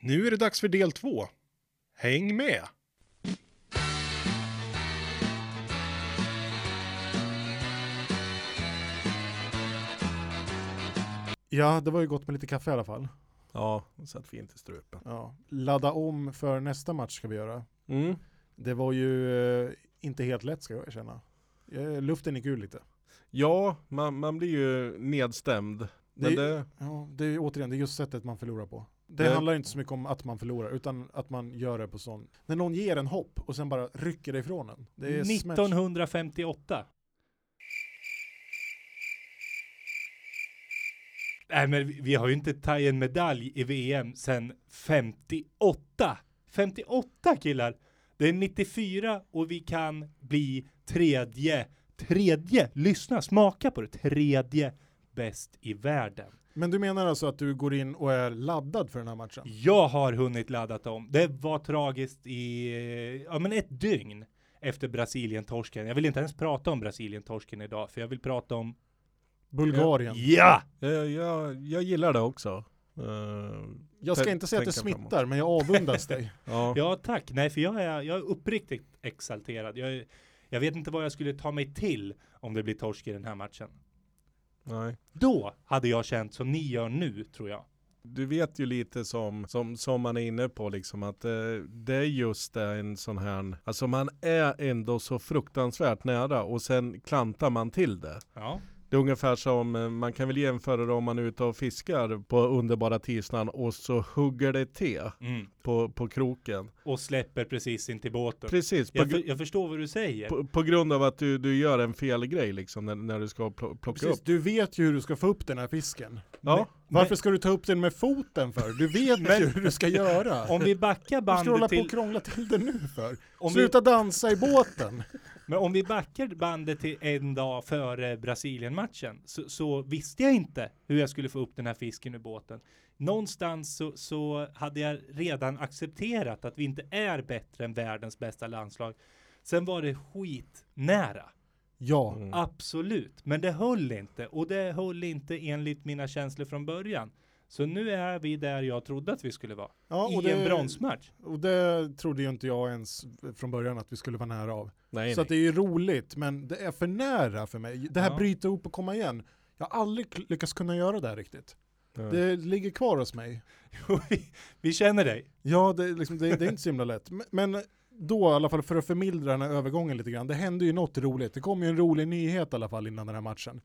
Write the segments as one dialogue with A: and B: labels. A: Nu är det dags för del två. Häng med!
B: Ja, det var ju gott med lite kaffe i alla fall.
C: Ja, satt fint i strupen.
B: Ja. Ladda om för nästa match ska vi göra.
C: Mm.
B: Det var ju eh, inte helt lätt ska jag erkänna. Eh, luften gick ur lite.
C: Ja, man, man blir ju nedstämd.
B: Det,
C: Men
B: är-
C: det,
B: ja, det är återigen, det är just sättet man förlorar på. Det
C: Det-
B: handlar inte så mycket om att man förlorar, utan att man gör det på sån. När någon ger en hopp och sen bara rycker det ifrån en. Det är smärt-
D: 1958. Nej men vi- vi har ju inte tagit en medalj i VM sedan 58. 58 killar! Det är 94 och vi kan bli tredje, tredje, lyssna, smaka på det, tredje bäst i världen.
B: Men du menar alltså att du går in och är laddad för den här matchen?
D: Jag har hunnit laddat om. Det var tragiskt i, eh, ja men ett dygn efter Brasilien-torsken. Jag vill inte ens prata om Brasilien-torsken idag, för jag vill prata om...
B: Bulgarien.
D: Ja!
C: jag, jag, jag gillar det också. Eh,
B: Jag ska
C: Tän-
B: inte säga att det
C: tänka
B: smittar, men jag avundas dig.
C: ja.
D: Ja, tack. Nej, för jag är, jag är uppriktigt exalterad. Jag, är- jag vet inte vad jag skulle ta mig till om det blir torsk i den här matchen.
C: Nej.
D: Då hade jag känt som ni gör nu, tror jag.
C: Du vet ju lite som, som, som man är inne på liksom att eh, det är just det, en sån här, alltså man är ändå så fruktansvärt nära och sen klantar man till det.
D: Ja.
C: Det är ungefär som, eh, man kan väl jämföra det om man är ute och fiskar på underbara tisdagen och så hugger det te
D: Mm.
C: på, på kroken.
D: Och släpper precis in till båten.
C: Precis, på,
D: Jag,
C: gr-
D: för, jag förstår vad du säger.
C: på, på grund av att du, du gör en felgrej liksom när, när du ska pl- plocka
B: Precis,
C: upp.
B: du vet ju hur du ska få upp den här fisken.
C: Ja,
B: Varför ska du ta upp den med foten för? Du vet ju hur du ska göra.
D: Om vi backar
B: Varför ska du hålla
D: bandet
B: på och
D: till...
B: krångla till det nu för?
D: Om vi,
B: Sluta dansa i båten!
D: Men om vi backar bandet till en dag före Brasilien-matchen så, så visste jag inte hur jag skulle få upp den här fisken ur båten. Någonstans så, så hade jag redan accepterat att vi inte är bättre än världens bästa landslag. Sen var det skitnära,
B: Ja,
D: Ah,
C: Mm.
D: absolut. Men det höll inte och det höll inte enligt mina känslor från början. Så nu är vi där jag trodde att vi skulle vara.
B: ja och,
D: I en
B: det,
D: bronsmatch.
B: och det trodde ju inte jag ens från början att vi skulle vara nära av.
C: nej,
B: Så att det är ju roligt, men det är för nära för mig. Det här
D: Ja.
B: bryta upp och komma igen, jag har aldrig kl- lyckats kunna göra det här riktigt.
C: nej.
D: Mm.
B: Det ligger kvar hos mig.
D: vi, vi känner dig.
B: Ja, det, är liksom, det, det är inte så himla lätt. Men- Men då i alla fall för att förmildra den här övergången lite grann, det hände ju något roligt. Det kom ju en rolig nyhet i alla fall innan den här matchen.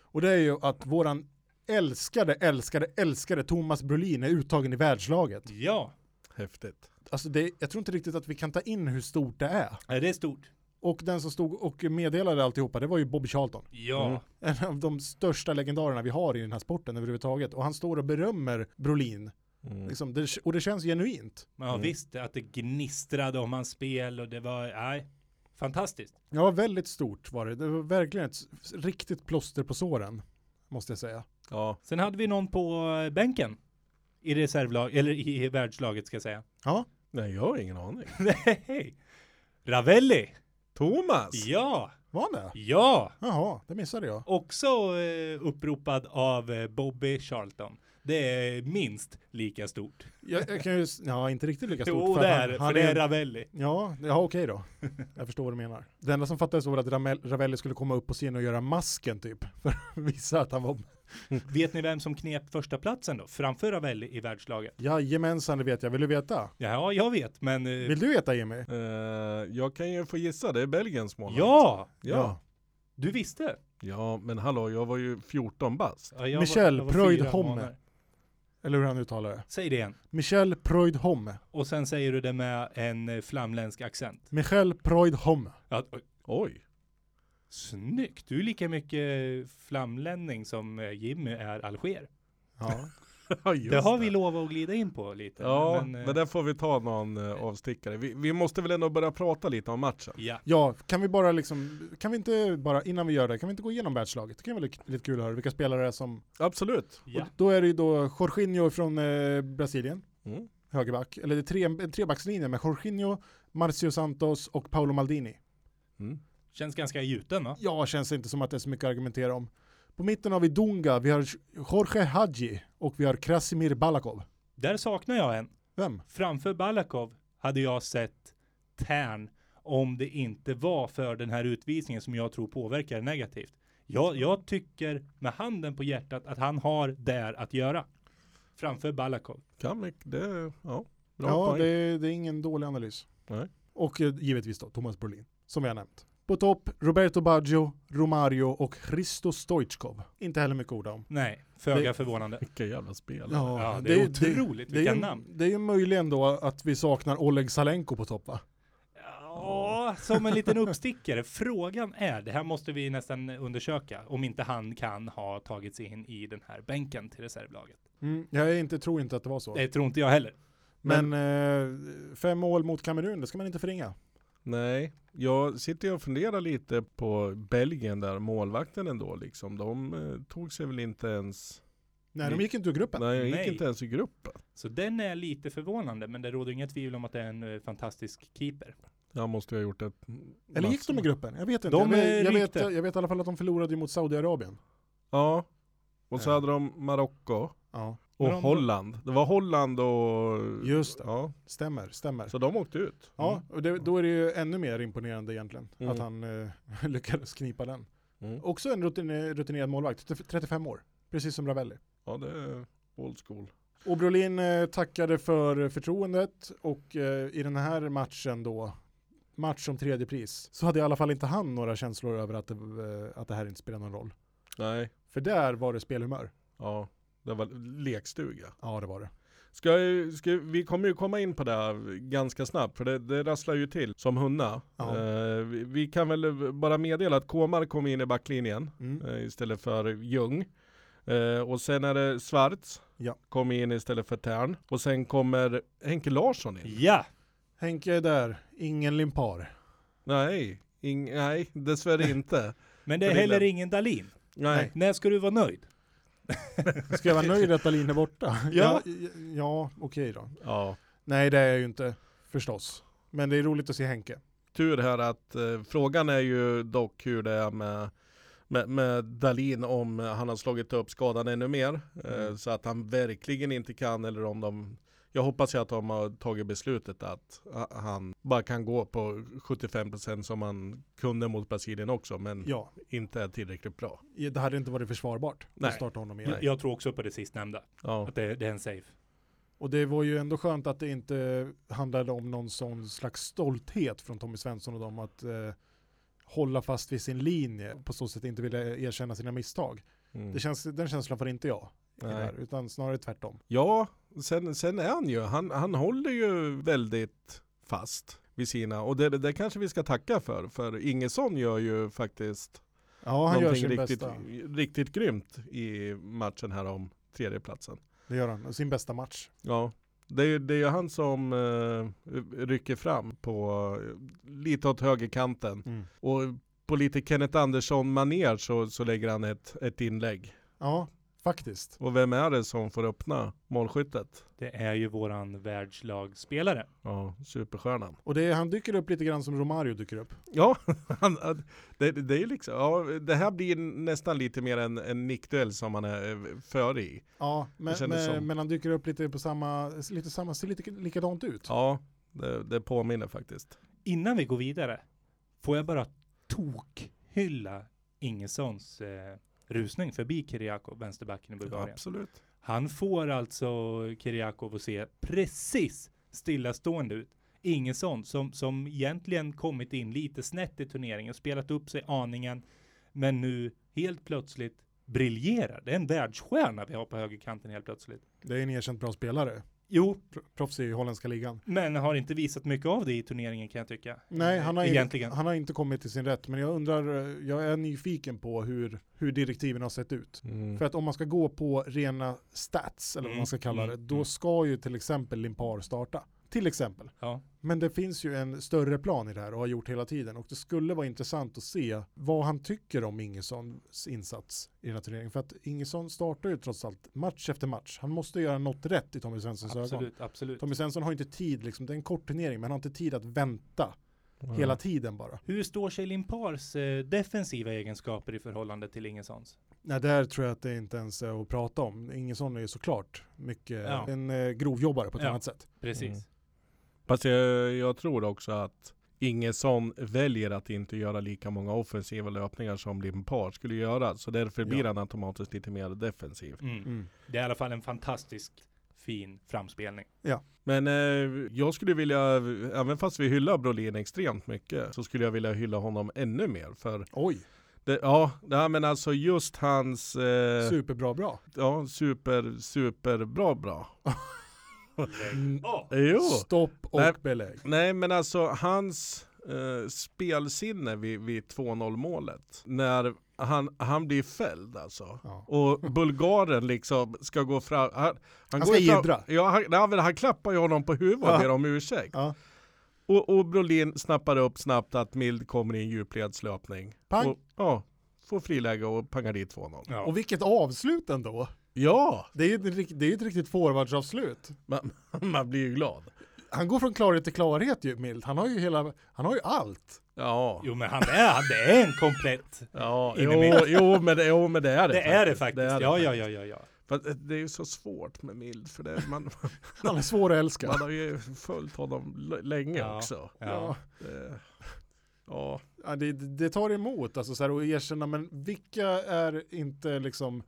B: Och det är ju att våran älskade, älskade, älskade Thomas Brolin är uttagen i världslaget.
D: Ja,
C: Häftigt.
B: Alltså det, jag tror inte riktigt att vi kan ta in hur stort det är.
D: det är stort.
B: Och den som stod och meddelade alltihopa, det var ju Bobby Charlton.
D: Ja.
C: Mm.
B: En av de största legendarerna vi har i den här sporten överhuvudtaget. Och han står och berömmer Brolin.
C: Mm.
B: Liksom, det, och det känns genuint.
D: Ja
C: Mm.
D: visst, att det gnistrade om hans spel och det var, nej, fantastiskt.
B: Ja, väldigt stort var det. Det var verkligen ett s- riktigt plåster på såren, måste jag säga.
C: Ja,
D: Sen hade vi någon på eh, bänken. I reservlag, eller i världslaget ska jag säga.
C: nej jag har ingen aning.
D: Nej! Ravelli!
C: Thomas!
D: Ja!
B: Var det?
D: Ja!
B: Jaha, det missade jag.
D: Också eh, uppropad av eh, Bobby Charlton. Det är minst lika stort.
B: Jag, jag kan ju, s- ja, inte riktigt lika stort.
D: Jo
B: för
D: det
B: att
D: är det, för det är
B: ju-
D: Ravelli.
B: Ja, ja okej då. Jag förstår vad du menar. Det enda som fattades var att Ramel, Ravelli skulle komma upp på scen och göra masken typ. För att visa att han var...
D: Vet ni vem som knep första platsen då? Framför Ravelli i världslaget?
B: Jajamensan, det vet jag. Vill du veta?
D: Ja, jag vet, men... eh,
B: Vill du veta Jimmy?
C: Eh, jag kan ju få gissa, det är Belgiens målvakt.
D: ja!
C: ja!
D: Du visste?
C: Ja, men hallå, jag var ju 14 bast.
D: Ja, jag var-
B: Michel
D: jag var
B: Preuid
D: fyra
B: Homme.
D: månader.
B: Eller hur han uttalar det.
D: Säg det igen.
B: Michel Proydhomme.
D: Och sen säger du det med en eh, flamländsk accent.
B: Michel Proydhomme.
D: Ja,
C: Oj!
D: snyggt! Du är lika mycket flamlänning som eh, Jimmy är alger.
B: Ja.
C: Ja, just
D: det har vi lovat att glida in på lite.
C: Ja, men,
D: men, eh,
C: där får vi ta någon eh, avstickare. Vi, vi måste väl ändå börja prata lite om matchen.
D: Ja,
B: Ja, kan vi bara liksom, kan vi inte bara, innan vi gör det, kan vi inte gå igenom världslaget? Det kan vara lite kul att höra vilka spelare det är som,
C: Absolut.
D: ja.
B: då är det ju då Jorginho från eh, Brasilien,
C: Mm.
B: högerback, eller det är tre, en trebackslinje med Jorginho, Marcio Santos och Paolo Maldini.
C: Mm.
D: Känns ganska gjuten va?
B: Ja, känns inte som att det är så mycket att argumentera om. På mitten har vi Dunga, vi har Jorge Hadji och vi har Krasimir Balakov.
D: Där saknar jag en.
B: Vem?
D: Framför Balakov hade jag sett Tern om det inte var för den här utvisningen som jag tror påverkar negativt. Jag, jag tycker med handen på hjärtat att han har där att göra. Framför Balakov.
C: Kan vi, det, ja. Bra
B: ja,
C: poäng.
B: det är, det är ingen dålig analys.
C: Nej.
B: Och eh, givetvis då Thomas Brolin, som vi har nämnt. På topp, Roberto Baggio, Romario och Christo Stoichkov. Inte heller mycket ord om.
D: Nej, föga
B: Det-
D: förvånande.
C: Vilka jävla spel.
D: Ja, det är otroligt
B: det, det, är
D: vilka
B: ju-
D: namn.
B: det är ju möjligen då att vi saknar Oleg Salenko på topp va?
D: Ja, som en liten uppstickare. Frågan är, det här måste vi nästan undersöka, om inte han kan ha tagit sig in i den här bänken till reservlaget.
B: Mm, jag är inte, tror inte att det var så.
D: Det tror inte jag heller.
B: Men eh, fem mål mot Kamerun, det ska man inte förringa.
C: Nej, jag sitter och funderar lite på Belgien där, målvakten ändå liksom. De eh, tog sig väl inte ens,
B: Nej, de
C: Mm.
B: gick inte ur gruppen.
C: nej, de gick
D: Nej.
C: inte ens i gruppen.
D: Så den är lite förvånande, men det råder inga tvivel om att det är en eh, fantastisk keeper.
C: Jag måste ju ha gjort ett...
B: Eller gick de i gruppen? Jag vet inte.
D: De
B: jag,
D: ryckte.
B: vet, jag, vet, jag vet i alla fall att de förlorade ju mot Saudiarabien.
C: Ja, och så
B: Ja.
C: hade de Marocko
B: Ja,
C: och
D: Men de-
C: Holland. Det var Holland och...
B: just det.
C: Ja,
B: Stämmer, stämmer.
C: så de åkte ut.
B: Ja, och det, då är det ju ännu mer imponerande egentligen
C: Mm.
B: att han eh, lyckades knipa den.
C: Mm.
B: Också en rutine- rutinerad målvakt, 35 år, precis som Ravelli.
C: Ja, det är old school.
B: Och Brolin eh, tackade för förtroendet och eh, i den här matchen då, match om tredje pris, så hade i alla fall inte han några känslor över att det, eh, att det här inte spelar någon roll.
C: Nej,
B: För där var det spelhumör.
C: ja, det var lekstuga.
B: Ja, det var det.
C: Ska, ska, vi kommer ju komma in på det här ganska snabbt, för det, det rasslar ju till som hunna.
B: Ja.
C: Eh, vi, vi kan väl bara meddela att Komar kom in i backlinjen
B: Mm.
C: eh, istället för Ljung. Eh, och sen är det Svarts,
B: Ja.
C: kom in istället för Tern. Och sen kommer Henke Larsson in.
D: Ja,
B: Henke är där, ingen limpar.
C: Nej, ing, nej dessvärre inte.
D: men det är
C: För det är
D: heller
C: den-
D: ingen Dalin.
C: Nej.
D: När ska du vara nöjd?
B: Ska jag vara nöjd att Dahlin är borta?
D: Ja.
B: ja, ja okej då.
C: Ja.
B: Nej, det är jag ju inte, förstås. Men det är roligt att se Henke.
C: Mm. Tur här att eh, frågan är ju dock hur det är med med, med Dalin om eh, han har slagit upp skadan ännu mer eh,
B: Mm.
C: så att han verkligen inte kan eller om de jag hoppas ju att de har tagit beslutet att ah, han bara kan gå på 75% som han kunde mot Brasilien också men
B: Ja,
C: inte är tillräckligt bra.
B: det hade inte varit försvarbart
C: Nej.
B: att starta honom igen.
D: Jag, jag tror också på det sistnämnda,
C: Ja,
D: att det, det är en safe.
B: Och det var ju ändå skönt att det inte handlade om någon sån slags stolthet från Tommy Svensson och dem att eh, hålla fast vid sin linje och på så sätt inte vilja erkänna sina misstag.
C: mm.
B: Det känns, den känslan får inte jag, i det
C: Nej.
B: här, utan snarare tvärtom.
C: ja sen, sen är han ju, han, han håller ju väldigt fast vid sina och det, det kanske vi ska tacka för för Ingesson gör ju faktiskt
B: Ja, han gör
C: någonting
B: sin
C: riktigt,
B: bästa.
C: riktigt grymt i matchen här om tredjeplatsen.
B: Det gör han, sin bästa match.
C: Ja, det är ju det är ju han som eh, rycker fram på eh, lite åt högerkanten och på lite Kenneth andersson maner så, så lägger han ett, ett inlägg.
B: Ja, faktiskt.
C: Och vem är det som får öppna målskyttet?
D: Det är ju våran världslagsspelare.
C: Ja, superstjärnan.
B: Och det, han dyker upp lite grann som Romario dyker upp.
C: Ja, han, han- det, det är ju liksom, ja, det här blir nästan lite mer en, en nickduell som han är eh, före i.
B: Ja,
C: Det
B: men,
C: kändes som-
B: men, men han dyker upp lite på samma, lite samma, ser lite likadant ut.
C: Ja, det, det påminner faktiskt.
D: Innan vi går vidare, får jag bara tokhylla Ingessons eh, rusning förbi Kiriakov, vänsterbacken i Bulgarien.
C: Absolut.
D: Han får alltså Kiriakov att se precis stillastående ut. Ingesson som, som egentligen kommit in lite snett i turneringen, spelat upp sig aningen, men nu helt plötsligt briljerar. Det är en världsstjärna vi har på högerkanten helt plötsligt.
B: Det är en erkänt bra spelare.
D: Jo,
B: Pro- Proffs i holländska ligan.
D: men har inte visat mycket av det i turneringen kan jag tycka.
B: Nej, han har,
D: Egentligen.
B: Inte, han har inte kommit till sin rätt, men jag undrar, eh, jag är nyfiken på hur, hur direktiven har sett ut.
C: Mm.
B: För att om man ska gå på rena stats, eller vad
D: Mm,
B: man ska kalla det,
D: mm,
B: då
D: mm.
B: ska ju till exempel Limpar starta. Till exempel.
D: Ja.
B: Men det finns ju en större plan i det här och har gjort hela tiden. Och det skulle vara intressant att se vad han tycker om Ingessons insats i den här turneringen. För att Ingesson startar ju trots allt match efter match. Han måste göra något rätt i Tommy Svenssons ögon.
D: Absolut, absolut.
B: Tommy Svensson har inte tid, liksom, det är en kort turnering, men han har inte tid att vänta hela tiden bara.
D: Hur står sig Limpars eh, defensiva egenskaper i förhållande till Ingessons?
B: Nej, där tror jag att det inte ens är att prata om. Ingesson är ju såklart mycket
D: Ja.
B: en eh, grovjobbare på ett
D: Ja.
B: annat sätt.
D: Precis.
C: Mm. Fast jag, jag tror också att Ingesson väljer att inte göra lika många offensiva löpningar som Limpar skulle göra. Så därför blir
B: Ja.
C: han automatiskt lite mer defensiv.
D: Mm. Det är i alla fall en fantastisk fin framspelning.
C: Men eh, jag skulle vilja, även fast vi hyllar Brolin extremt mycket, så skulle jag vilja hylla honom ännu mer. För
B: Oj,
C: det, ja, nej, men alltså just hans... Eh,
B: superbra bra.
C: ja, super, super bra bra.
B: Mm,
D: Ja,
C: Jo.
B: Stopp och
C: Nej.
B: belägg.
C: Nej men alltså hans eh, spelsinne vid, vid 2-0 målet. När han, han blir fälld alltså.
B: Ja.
C: Och bulgaren liksom ska gå fram. Han, han, går
B: ska
C: ju fram-
B: jiddra.
C: Ja, han, nej, men han klappar ju honom på huvudet och
B: Ja.
C: ber om ursäkt.
B: Ja.
C: Och, och Brolin snappar upp snabbt att Mild kommer i en djupledslöpning.
B: Pang.
C: Och, ja, får friläge och pangar dit 2-0.
D: Ja.
B: Och vilket avslut ändå.
C: Ja,
B: Det är ju ett, rikt- det är ju ett riktigt forwardsavslut.
C: man, man blir ju glad.
B: Han går från klarhet till klarhet ju, Mild. Han har ju, hela, han har ju allt.
C: Ja,
D: Jo men han är, han är en komplett.
C: ja
D: in i
C: jo,
D: mitt.
C: jo, men det, jo men det är det
D: Det är det
C: Det
D: faktiskt.
C: är det
D: Ja, ja, ja, ja, ja.
C: Fast eh, det är ju så svårt med Mild, för det, man,
B: Han är svår att älska.
C: man har ju följt honom l- länge
D: Ja.
C: också.
D: ja.
C: Det, ja,
B: Ja, det, det tar emot alltså, så här, och erkänna, men vilka är inte liksom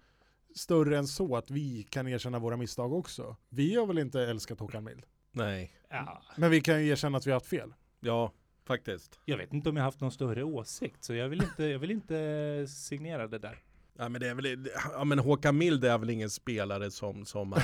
B: större än så att vi kan erkänna våra misstag också? Vi har väl inte älskat Håkan Mild?
C: nej,
D: ja.
B: Men vi kan ju erkänna att vi har haft fel.
C: ja, faktiskt.
D: Jag vet inte om jag haft någon större åsikt, så jag vill inte, jag vill inte signera det där.
C: Ja, men, det är väl, ja, men Håkan Mild är väl ingen spelare som, som man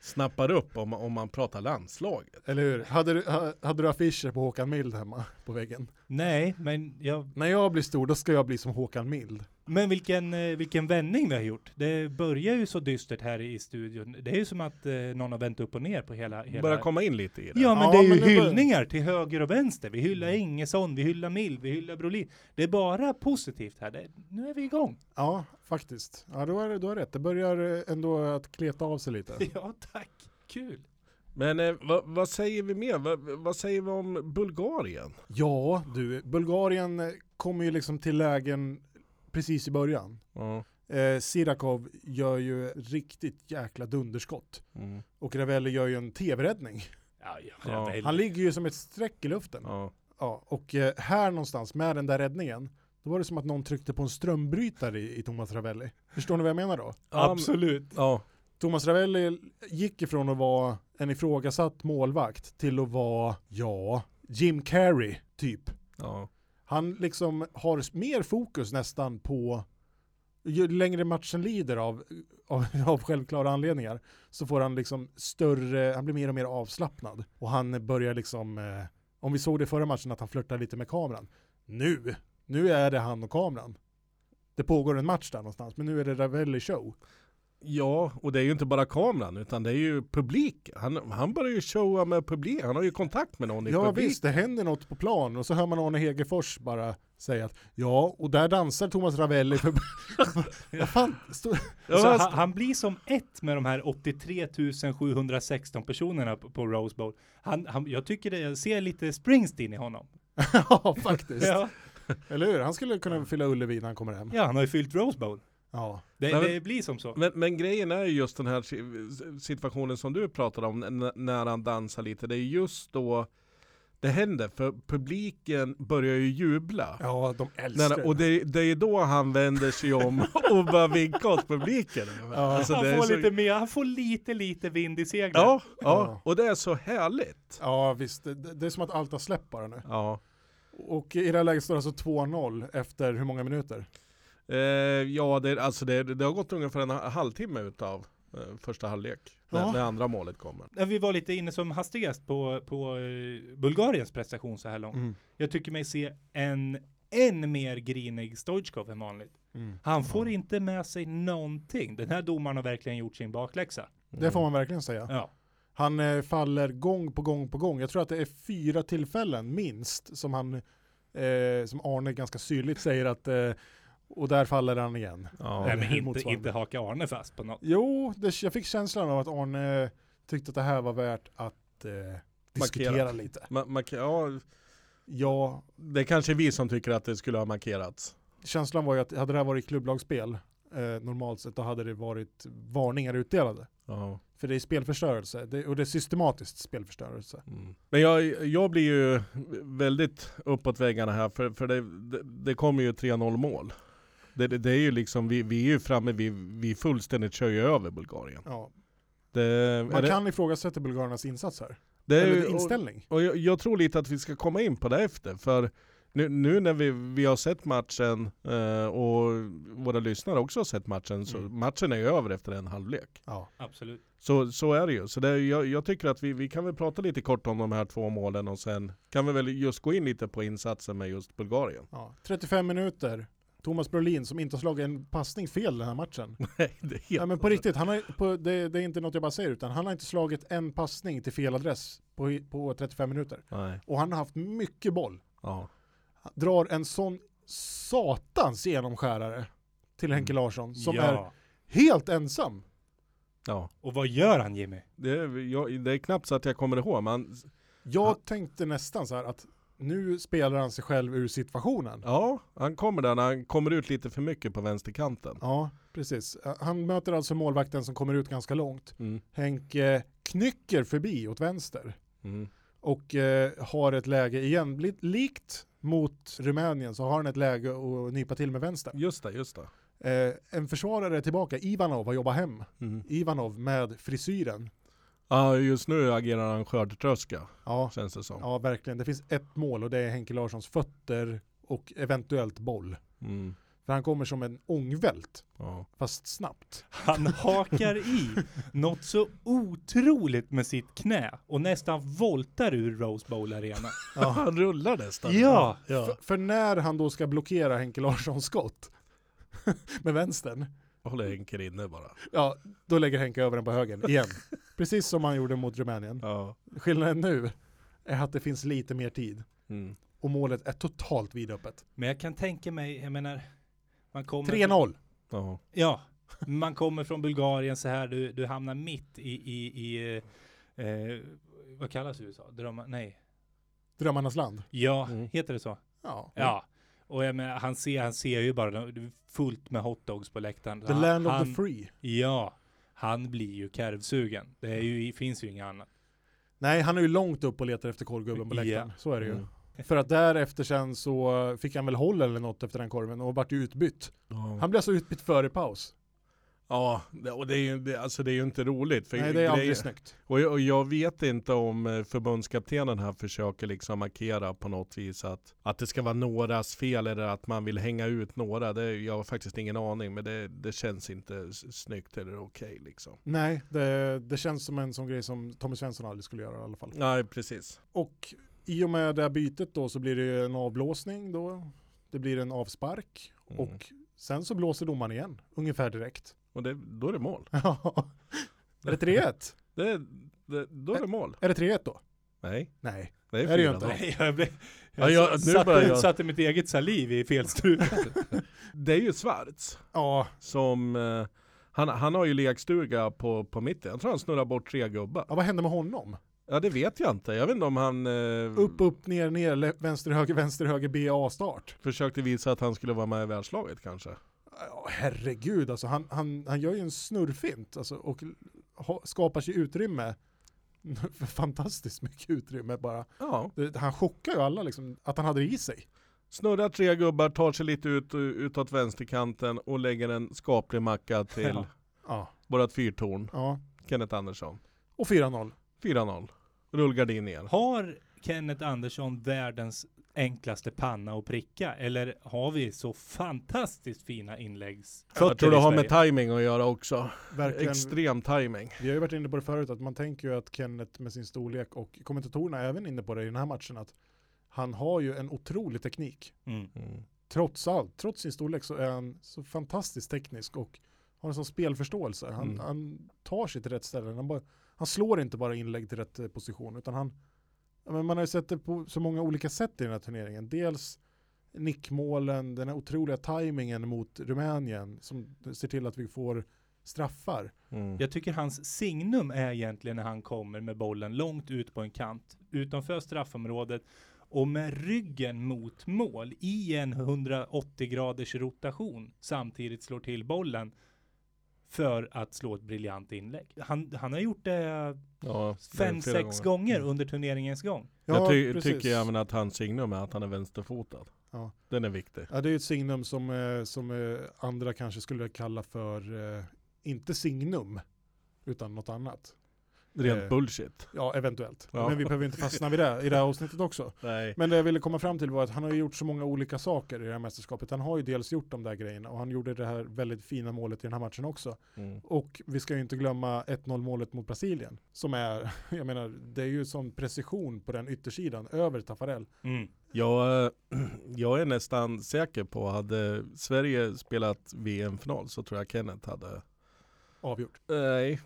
C: snappar upp om, om man pratar landslaget.
B: Eller hur? Hade du, ha, hade du affischer på Håkan Mild hemma på väggen?
D: Nej, men jag...
B: När jag blir stor, då ska jag bli som Håkan Mild.
D: Men vilken, eh, vilken vändning vi har gjort. Det börjar ju så dystert här i studion. Det är ju som att eh, någon har vänt upp och ner på hela... hela...
C: Börjar komma in lite i det.
D: Ja, men
B: Ja,
D: det är ju
B: men det bör-
D: hyllningar till höger och vänster. Vi hyllar Ingesson, vi hyllar Mild, vi hyllar Brolin. Det är bara positivt här. Det, nu är vi igång.
B: Ja, faktiskt. Ja, då är, då är rätt. Det börjar eh, ändå att kleta av sig lite.
D: Ja, tack. Kul.
C: Men eh, vad, vad säger vi mer? Vad, vad säger vi om Bulgarien?
B: Ja, du. Bulgarien eh, kommer ju liksom till lägen precis i början.
C: Ja.
B: Eh, Sirakov gör ju riktigt jäkla dunderskott.
C: Mm.
B: Och Ravelli gör ju en tv-räddning.
D: Ja, ja,
C: Ja.
D: ja.
B: Han ligger ju som ett streck i luften. Ja.
C: Ja.
B: och eh, här någonstans med den där räddningen, då var det som att någon tryckte på en strömbrytare i, i Thomas Ravelli. Förstår ni vad jag menar då?
D: Absolut.
C: Ja,
B: Thomas Ravelli gick ifrån att vara en ifrågasatt målvakt till att vara, ja, Jim Carrey typ.
C: ja.
B: Han liksom har s- mer fokus nästan på, ju längre matchen lider av, av, av självklara anledningar, så får han liksom större, han blir mer och mer avslappnad. Och han börjar liksom, eh, om vi såg det förra matchen att han flörtar lite med kameran. Nu, nu är det han och kameran. Det pågår en match där någonstans, men nu är det Ravelli show.
C: Ja, och det är ju inte bara kameran utan det är ju publik. Han, han börjar ju showa med publik. Han har ju kontakt med någon i
B: Ja
C: publik.
B: visst, det händer något på plan och så hör man Arne Hegerfors bara säga att ja, och där dansar Thomas Ravelli för... Vad fan? Stå...
C: Ja,
D: så
C: han-
D: han, han blir som ett med de här 83 716 personerna på, på Rose Bowl. Han, han, jag tycker det, jag ser lite Springsteen i honom.
B: ja, faktiskt.
D: Ja,
B: Eller hur? Han skulle kunna fylla Ullevi när han kommer hem.
D: ja han har ju fyllt Rose Bowl.
B: Ja.
D: Det,
C: Men-
D: det blir som så.
C: men, men grejen är ju just den här si- situationen som du pratar om n- när han dansar lite. Det är just då det händer för publiken börjar ju jubla.
B: Ja, de älskar
C: När,
B: det.
C: och det, det är då han vänder sig om och börjar vinka åt publiken. Alltså,
D: han,
C: det är
D: får
C: så-
D: lite mer, han får lite, lite vind i seglen.
C: ja, ja,
B: Ja.
C: och det är så härligt.
B: Ja, visst. Det, det det är som att allt har släppt bara nu.
C: Ja.
B: Och i det här läget står det alltså 2-0 efter hur många minuter?
C: Eh, ja, det, alltså det, det har gått ungefär en ha- halvtimme utav eh, första halvlek. När,
B: Ja.
C: när andra målet kommer.
D: När vi var lite inne som hastigast på, på eh, Bulgariens prestation så här långt.
B: Mm.
D: Jag tycker mig se en än mer grinig Stoichkov än vanligt.
B: Mm.
D: Han får inte med sig någonting. Den här domaren har verkligen gjort sin bakläxa.
B: Det får man verkligen säga.
D: Ja.
B: Han eh, faller gång på gång på gång. Jag tror att det är fyra tillfällen minst som han, eh, som Arne ganska syrligt säger att, eh, och där faller han igen.
C: Mm. Ja.
D: Nej,
B: det är
D: men inte,
B: motsvarande.
D: inte haka Arne fast på något.
B: Jo, det, jag fick känslan av att Arne tyckte att det här var värt att eh, diskutera lite.
C: Man, man kan, ja,
B: Ja,
C: Det är kanske vi som tycker att det skulle ha markerats.
B: känslan var ju att hade det här varit klubblagsspel eh, normalt sett då hade det varit varningar utdelade.
C: Ja.
B: För det är spelförstörelse det, och det är systematiskt spelförstörelse.
C: Men jag, jag blir ju väldigt uppåt väggarna här, för, för det, det, det kommer ju 3-0 mål. Det, det, det är ju liksom, vi, vi är ju framme, vi, vi fullständigt kör ju över Bulgarien.
B: Ja.
C: Det, är
B: Man
C: det,
B: kan ifrågasätta bulgarernas insats här.
C: det är
B: Eller
C: ju- och-
B: inställning.
C: Och jag, jag tror lite att vi ska komma in på det efter, för nu, nu när vi, vi har sett matchen eh, och våra lyssnare också har sett matchen, så
B: Mm.
C: matchen är ju över efter en halvlek.
B: Ja.
D: Absolut.
C: Så, så är det ju. Så det, är- jag, jag tycker att vi, vi kan väl prata lite kort om de här två målen och sen kan vi väl just gå in lite på insatsen med just Bulgarien.
B: Ja. 35 minuter. Thomas Brolin som inte har slagit en passning fel den här matchen.
C: Nej, det är helt-
B: Nej men på riktigt, han har, på, det, det är inte något jag bara säger utan han har inte slagit en passning till fel adress på, på 35 minuter.
C: Nej,
B: Och han har haft mycket boll.
C: ja.
B: Han drar en sån satans genomskärare till Henke
C: Mm.
B: Larsson som
D: ja.
B: är helt ensam.
C: ja.
D: Och vad gör han Jimmy?
C: Det, är- jag, det är knappt så att jag kommer ihåg, men
B: Jag
C: Ja.
B: tänkte nästan så här att nu spelar han sig själv ur situationen.
C: ja, han kommer där när han kommer ut lite för mycket på vänsterkanten.
B: Ja, precis. Han möter alltså målvakten som kommer ut ganska långt.
C: Mm.
B: Henke knycker förbi åt vänster
C: Mm.
B: och eh, har ett läge igen, li- likt mot Rumänien så har han ett läge att nypa till med vänster.
C: Just det, just det.
B: Eh, en försvarare är tillbaka, Ivanov har jobbat hem.
C: Mm.
B: Ivanov med frisyren.
C: Ja, just nu agerar han skördetröska,
B: Ja,
C: känns det som.
B: ja, verkligen. Det finns ett mål och det är Henke Larssons fötter och eventuellt boll.
C: Mm.
B: För han kommer som en ångvält,
C: Ja.
B: fast snabbt.
D: Han hakar i något så otroligt med sitt knä och nästan voltar ur Rose Bowl Arena.
C: Han rullar nästan.
D: Ja.
B: För, för när han då ska blockera Henke Larssons skott med vänstern,
C: Håller Henker inne bara.
B: ja, då lägger Henke över den på högen igen. Precis som han gjorde mot Rumänien.
C: Ja.
B: Skillnaden nu är att det finns lite mer tid
C: Mm.
B: och målet är totalt vidöppet.
D: Men jag kan tänka mig, jag menar, man kommer...
B: 3-0.
C: Ja.
D: Ja, man kommer från Bulgarien så här, du, du hamnar mitt i, i, i eh, eh, vad kallas USA? Drömmar? Nej.
B: Drömmarnas land.
D: Ja,
C: Mm.
D: heter det så?
B: Ja.
D: Ja. Och jag menar, han ser, han ser ju bara det är fullt med hotdogs på läktaren.
B: The
D: han,
B: land of
D: han,
B: the free.
D: Ja, han blir ju karvsugen. Det är ju, finns ju inget annat.
B: Nej, han är ju långt upp och letar efter korvgubben på läktaren. Så är det ju.
C: Mm.
B: För att därefter sen så fick han väl håll eller något efter den korven och vart ju utbytt.
C: Ja.
B: Han blev alltså utbytt före paus.
C: ja, det- och det är ju det, alltså det är ju inte roligt. För
B: Nej, det är
C: grejer-
B: aldrig snyggt.
C: och, jag, och jag vet inte om eh, förbundskaptenen här försöker liksom markera på något vis att, att det ska vara någras fel eller att man vill hänga ut några. Det, jag har faktiskt ingen aning, men det, det känns inte s- snyggt eller okej liksom.
B: Nej, det, det känns som en sån grej som Tommy Svensson aldrig skulle göra i alla fall.
C: Nej, precis.
B: Och i och med det här bytet då så blir det ju en avblåsning då. Det blir en avspark
C: Mm.
B: och sen så blåser domaren igen, ungefär direkt.
C: Och det, då är det mål.
B: Ja. är det 3-1?
C: Det, det, då är det mål.
B: Är det 3-1 då?
C: Nej,
B: Nej.
C: det är
B: Är det ju
C: 4-0.
B: inte.
D: Nej, jag blev...
C: Ja, jag- nu
D: satte,
C: börjar jag.
D: satte mitt eget saliv i fel strupe.
C: Det är ju Schwarz
B: Ja,
C: som, eh, han, han har ju lekstuga på, på mitten. Jag tror han snurrar bort tre gubbar.
B: ja vad hände med honom?
C: Ja det vet jag inte. Jag vet inte om han eh,
B: Upp, upp, ner, ner, le- vänster, höger, vänster, höger, BA-start.
C: försökte visa att han skulle vara med i världslaget kanske.
B: Ja, herregud, alltså han, han, han gör ju en snurrfint alltså, och ha, skapar sig utrymme. Fantastiskt mycket utrymme bara.
C: Ja,
B: Det- Han chockar ju alla liksom, att han hade det i sig.
C: snurrar tre gubbar, tar sig lite ut, utåt vänsterkanten och lägger en skaplig macka till
D: Ja.
B: Ja.
C: vårat fyrtorn,
B: ja.
C: Kenneth Andersson.
B: Och 4-0.
C: 4-0. Rullgardin ner.
D: Har Kenneth Andersson världens enklaste panna att pricka? Eller har vi så fantastiskt fina inläggs...
C: Jag tror det har med timing att göra också.
B: Verkligen.
C: Extrem timing.
B: Vi har ju varit inne på det förut, att man tänker ju att Kenneth med sin storlek och kommentatorerna är även inne på det i den här matchen, att han har ju en otrolig teknik.
D: Mm.
B: Trots allt, trots sin storlek så är han så fantastiskt teknisk och har en sån spelförståelse. Han,
C: Mm.
B: han tar sig till rätt ställe. Han, bara, han slår inte bara inlägg till rätt eh, position, utan han... ja, Men man har ju sett det på så många olika sätt i den här turneringen. Dels nickmålen, den här otroliga tajmingen mot Rumänien som ser till att vi får straffar.
C: Mm.
D: Jag tycker hans signum är egentligen när han kommer med bollen långt ut på en kant utanför straffområdet och med ryggen mot mål i en 180 graders rotation samtidigt slår till bollen för att slå ett briljant inlägg. Han, han har gjort det
C: Ja, det är
D: fem,
C: flera Mm.
D: sex gånger under turneringens gång.
C: jag ty-
B: precis.
C: tycker även att hans signum är att han är vänsterfotad.
B: Ja.
C: Den är viktig.
B: Ja, det är ju ett signum som, eh, som eh, andra kanske skulle kalla för, eh, inte signum, utan något annat.
C: Rent
B: Eh.
C: bullshit.
B: Ja, eventuellt.
C: Ja.
B: Men vi behöver inte fastna vid det i det här avsnittet också.
C: Nej.
B: Men det jag ville komma fram till var att han har ju gjort så många olika saker i det här mästerskapet. Han har ju dels gjort de där grejerna och han gjorde det här väldigt fina målet i den här matchen också.
C: Mm.
B: Och vi ska ju inte glömma 1-0 målet mot Brasilien. Som är, jag menar, det är ju sån precision på den yttersidan över Taffarel.
D: Mm.
C: Jag, eh, jag är nästan säker på, hade Sverige spelat VM-final så tror jag Kenneth hade
B: Avgjort.
C: Nej,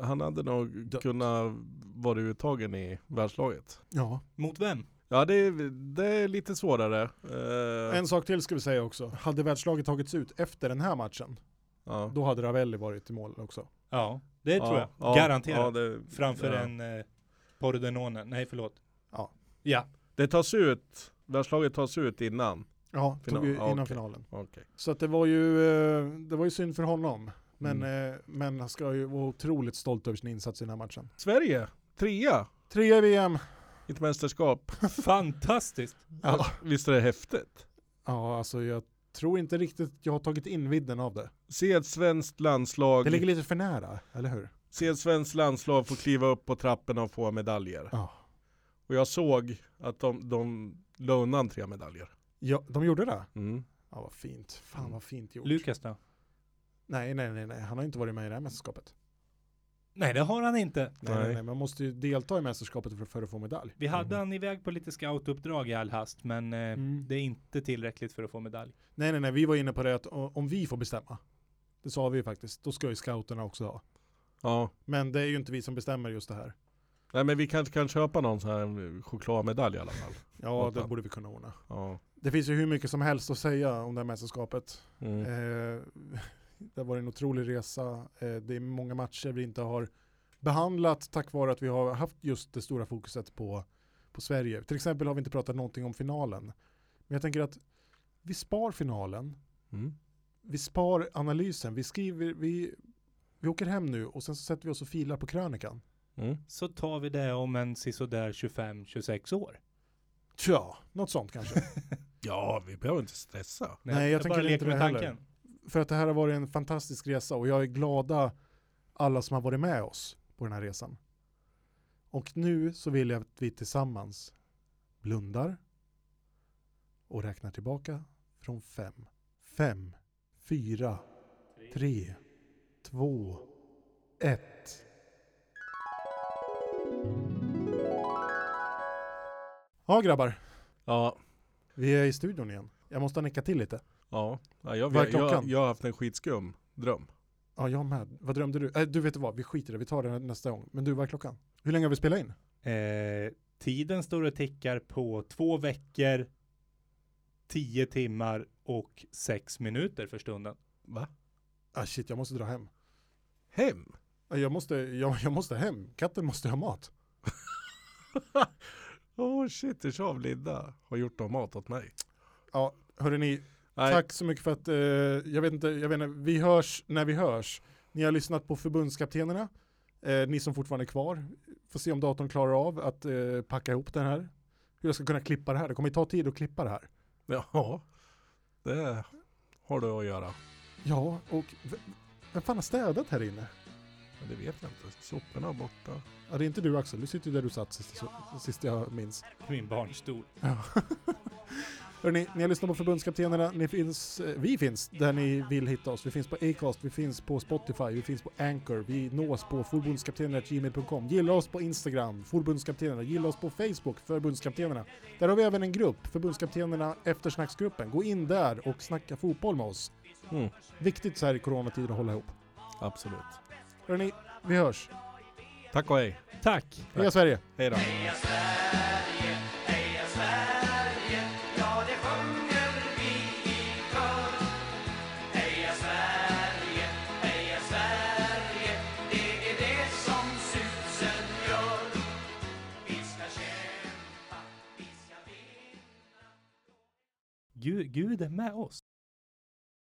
C: han hade nog
B: Dött.
C: kunnat vara uttagen i världslaget.
B: Ja.
D: Mot vem?
C: Ja, det är, det är lite svårare. Eh,
B: En sak till ska vi säga också. Hade världslaget tagits ut efter den här matchen,
C: ja.
B: då hade Ravelli varit i mål också.
D: Ja, det tror jag.
C: Ja, ja,
D: Garanterat.
C: ja, det,
D: Framför
C: ja.
D: en eh, Pordenone. Nej, förlåt.
B: Ja.
D: Ja.
C: Det tas ut, världslaget tas ut innan.
B: Ja,
C: Final-
B: tog ju
C: ja,
B: innan
C: okej.
B: finalen.
C: Okej.
B: Så att det var ju, eh, det var ju synd för honom. Men, eh, men han ska ju vara otroligt stolt över sin insats i den här matchen.
C: Sverige, trea
B: Trea i VM.
C: i ett mästerskap.
D: Fantastiskt.
B: Ja.
C: Visst är det häftigt?
B: ja, alltså jag tror inte riktigt jag har tagit in vidden av det.
C: Se ett svenskt landslag,
B: Det ligger lite för nära, eller hur?
C: se ett svenskt landslag få kliva upp på trapporna och få medaljer.
B: Ja.
C: Och jag såg att de, de la undan tre medaljer.
B: Ja, de gjorde det?
C: Mm.
B: Ja, vad fint. Fan vad fint gjort.
D: Lukas då?
B: Nej, nej, nej, nej, han har inte varit med i det här mästerskapet.
D: Nej, det har han inte.
B: Nej,
C: Nej.
B: nej, nej, man måste ju delta i mästerskapet för, för att få medalj.
D: Vi hade han iväg på lite scoutuppdrag i all hast, men eh,
B: Mm.
D: det är inte tillräckligt för att få medalj.
B: Nej, nej, nej, vi var inne på det att o- om vi får bestämma, det sa vi ju faktiskt, då ska ju scouterna också ha.
C: Ja.
B: Men det är ju inte vi som bestämmer just det här.
C: Nej men vi kanske kan köpa någon sån här chokladmedalj i alla fall.
B: Ja, det
C: Hoppa.
B: borde vi kunna ordna.
C: Ja.
B: Det finns ju hur mycket som helst att säga om det här mästerskapet.
C: Mm.
B: Eh, det har varit en otrolig resa. Eh, det är många matcher vi inte har behandlat tack vare att vi har haft just det stora fokuset på, på Sverige. Till exempel har vi inte pratat någonting om finalen. Men jag tänker att vi spar finalen,
C: Mm.
B: vi spar analysen, vi skriver, vi, vi åker hem nu och sen så sätter vi oss och filar på krönikan.
C: Mm.
D: Så tar vi det om en sisådär 25-26 år.
B: Tja, något sånt kanske.
C: Ja, vi behöver inte stressa.
B: Nej, jag tänker
D: bara
B: inte
D: leker
B: det
D: med
B: heller.
D: tanken.
B: För att det här har varit en fantastisk resa och jag är glada alla som har varit med oss på den här resan. Och nu så vill jag att vi tillsammans blundar och räknar tillbaka från fem. Fem, fyra, tre, två, ett. Ja grabbar,
C: Ja,
B: vi är i studion igen. Jag måste nicka till lite.
C: ja. ja jag,
B: Vad är
C: vet, jag,
B: klockan?
C: jag har haft en skitskum dröm.
B: Ja, jag med. Vad drömde du? Äh, du vet vad, vi skiter i det. Vi tar det nästa gång. Men du, vad är klockan? Hur länge har vi spelat in?
D: Eh, tiden står och tickar på två veckor, 10 timmar och 6 minuter för stunden.
C: Va?
B: Ah, shit, jag måste dra hem.
C: Hem?
B: Ah, Jag måste, jag, jag måste hem. Katten måste ha mat.
C: Åh oh, shit, det av Linda har gjort någon mat åt mig.
B: Ja, hörrni,
C: Nej,
B: tack så mycket för att, eh, jag vet inte, jag vet inte, vi hörs när vi hörs. Ni har lyssnat på förbundskaptenerna, eh, ni som fortfarande är kvar. Får se om datorn klarar av att eh, packa ihop den här. Hur jag ska kunna klippa det här, det kommer ju ta tid att klippa det här.
C: Ja, det har du att göra.
B: Ja, och v- vem fan har städat här inne?
C: Men det vet jag inte. Soporna är borta.
B: Ja, det är inte du Axel, du sitter ju där du satt sist, sist jag minns.
D: Min barnstol.
B: Hörrni, ni har lyssnat på Förbundskaptenerna. Ni finns, eh, vi finns där ni vill hitta oss. Vi finns på Acast, vi finns på Spotify, vi finns på Anchor. Vi nås på förbundskaptenerna.gmail.com. Gilla oss på Instagram, Förbundskaptenerna. Gilla oss på Facebook, Förbundskaptenerna. Där har vi även en grupp, Förbundskaptenerna Eftersnacksgruppen. Gå in där och snacka fotboll med oss.
C: Mm.
B: Viktigt så här i coronatider att hålla ihop.
C: Absolut.
B: Hörrni, vi hörs.
C: Tack och hej.
D: Tack!
B: Heja Sverige!
C: Hej då.
E: som susen gör. Vi ska kämpa, vi ska vinna
D: Gud är med oss.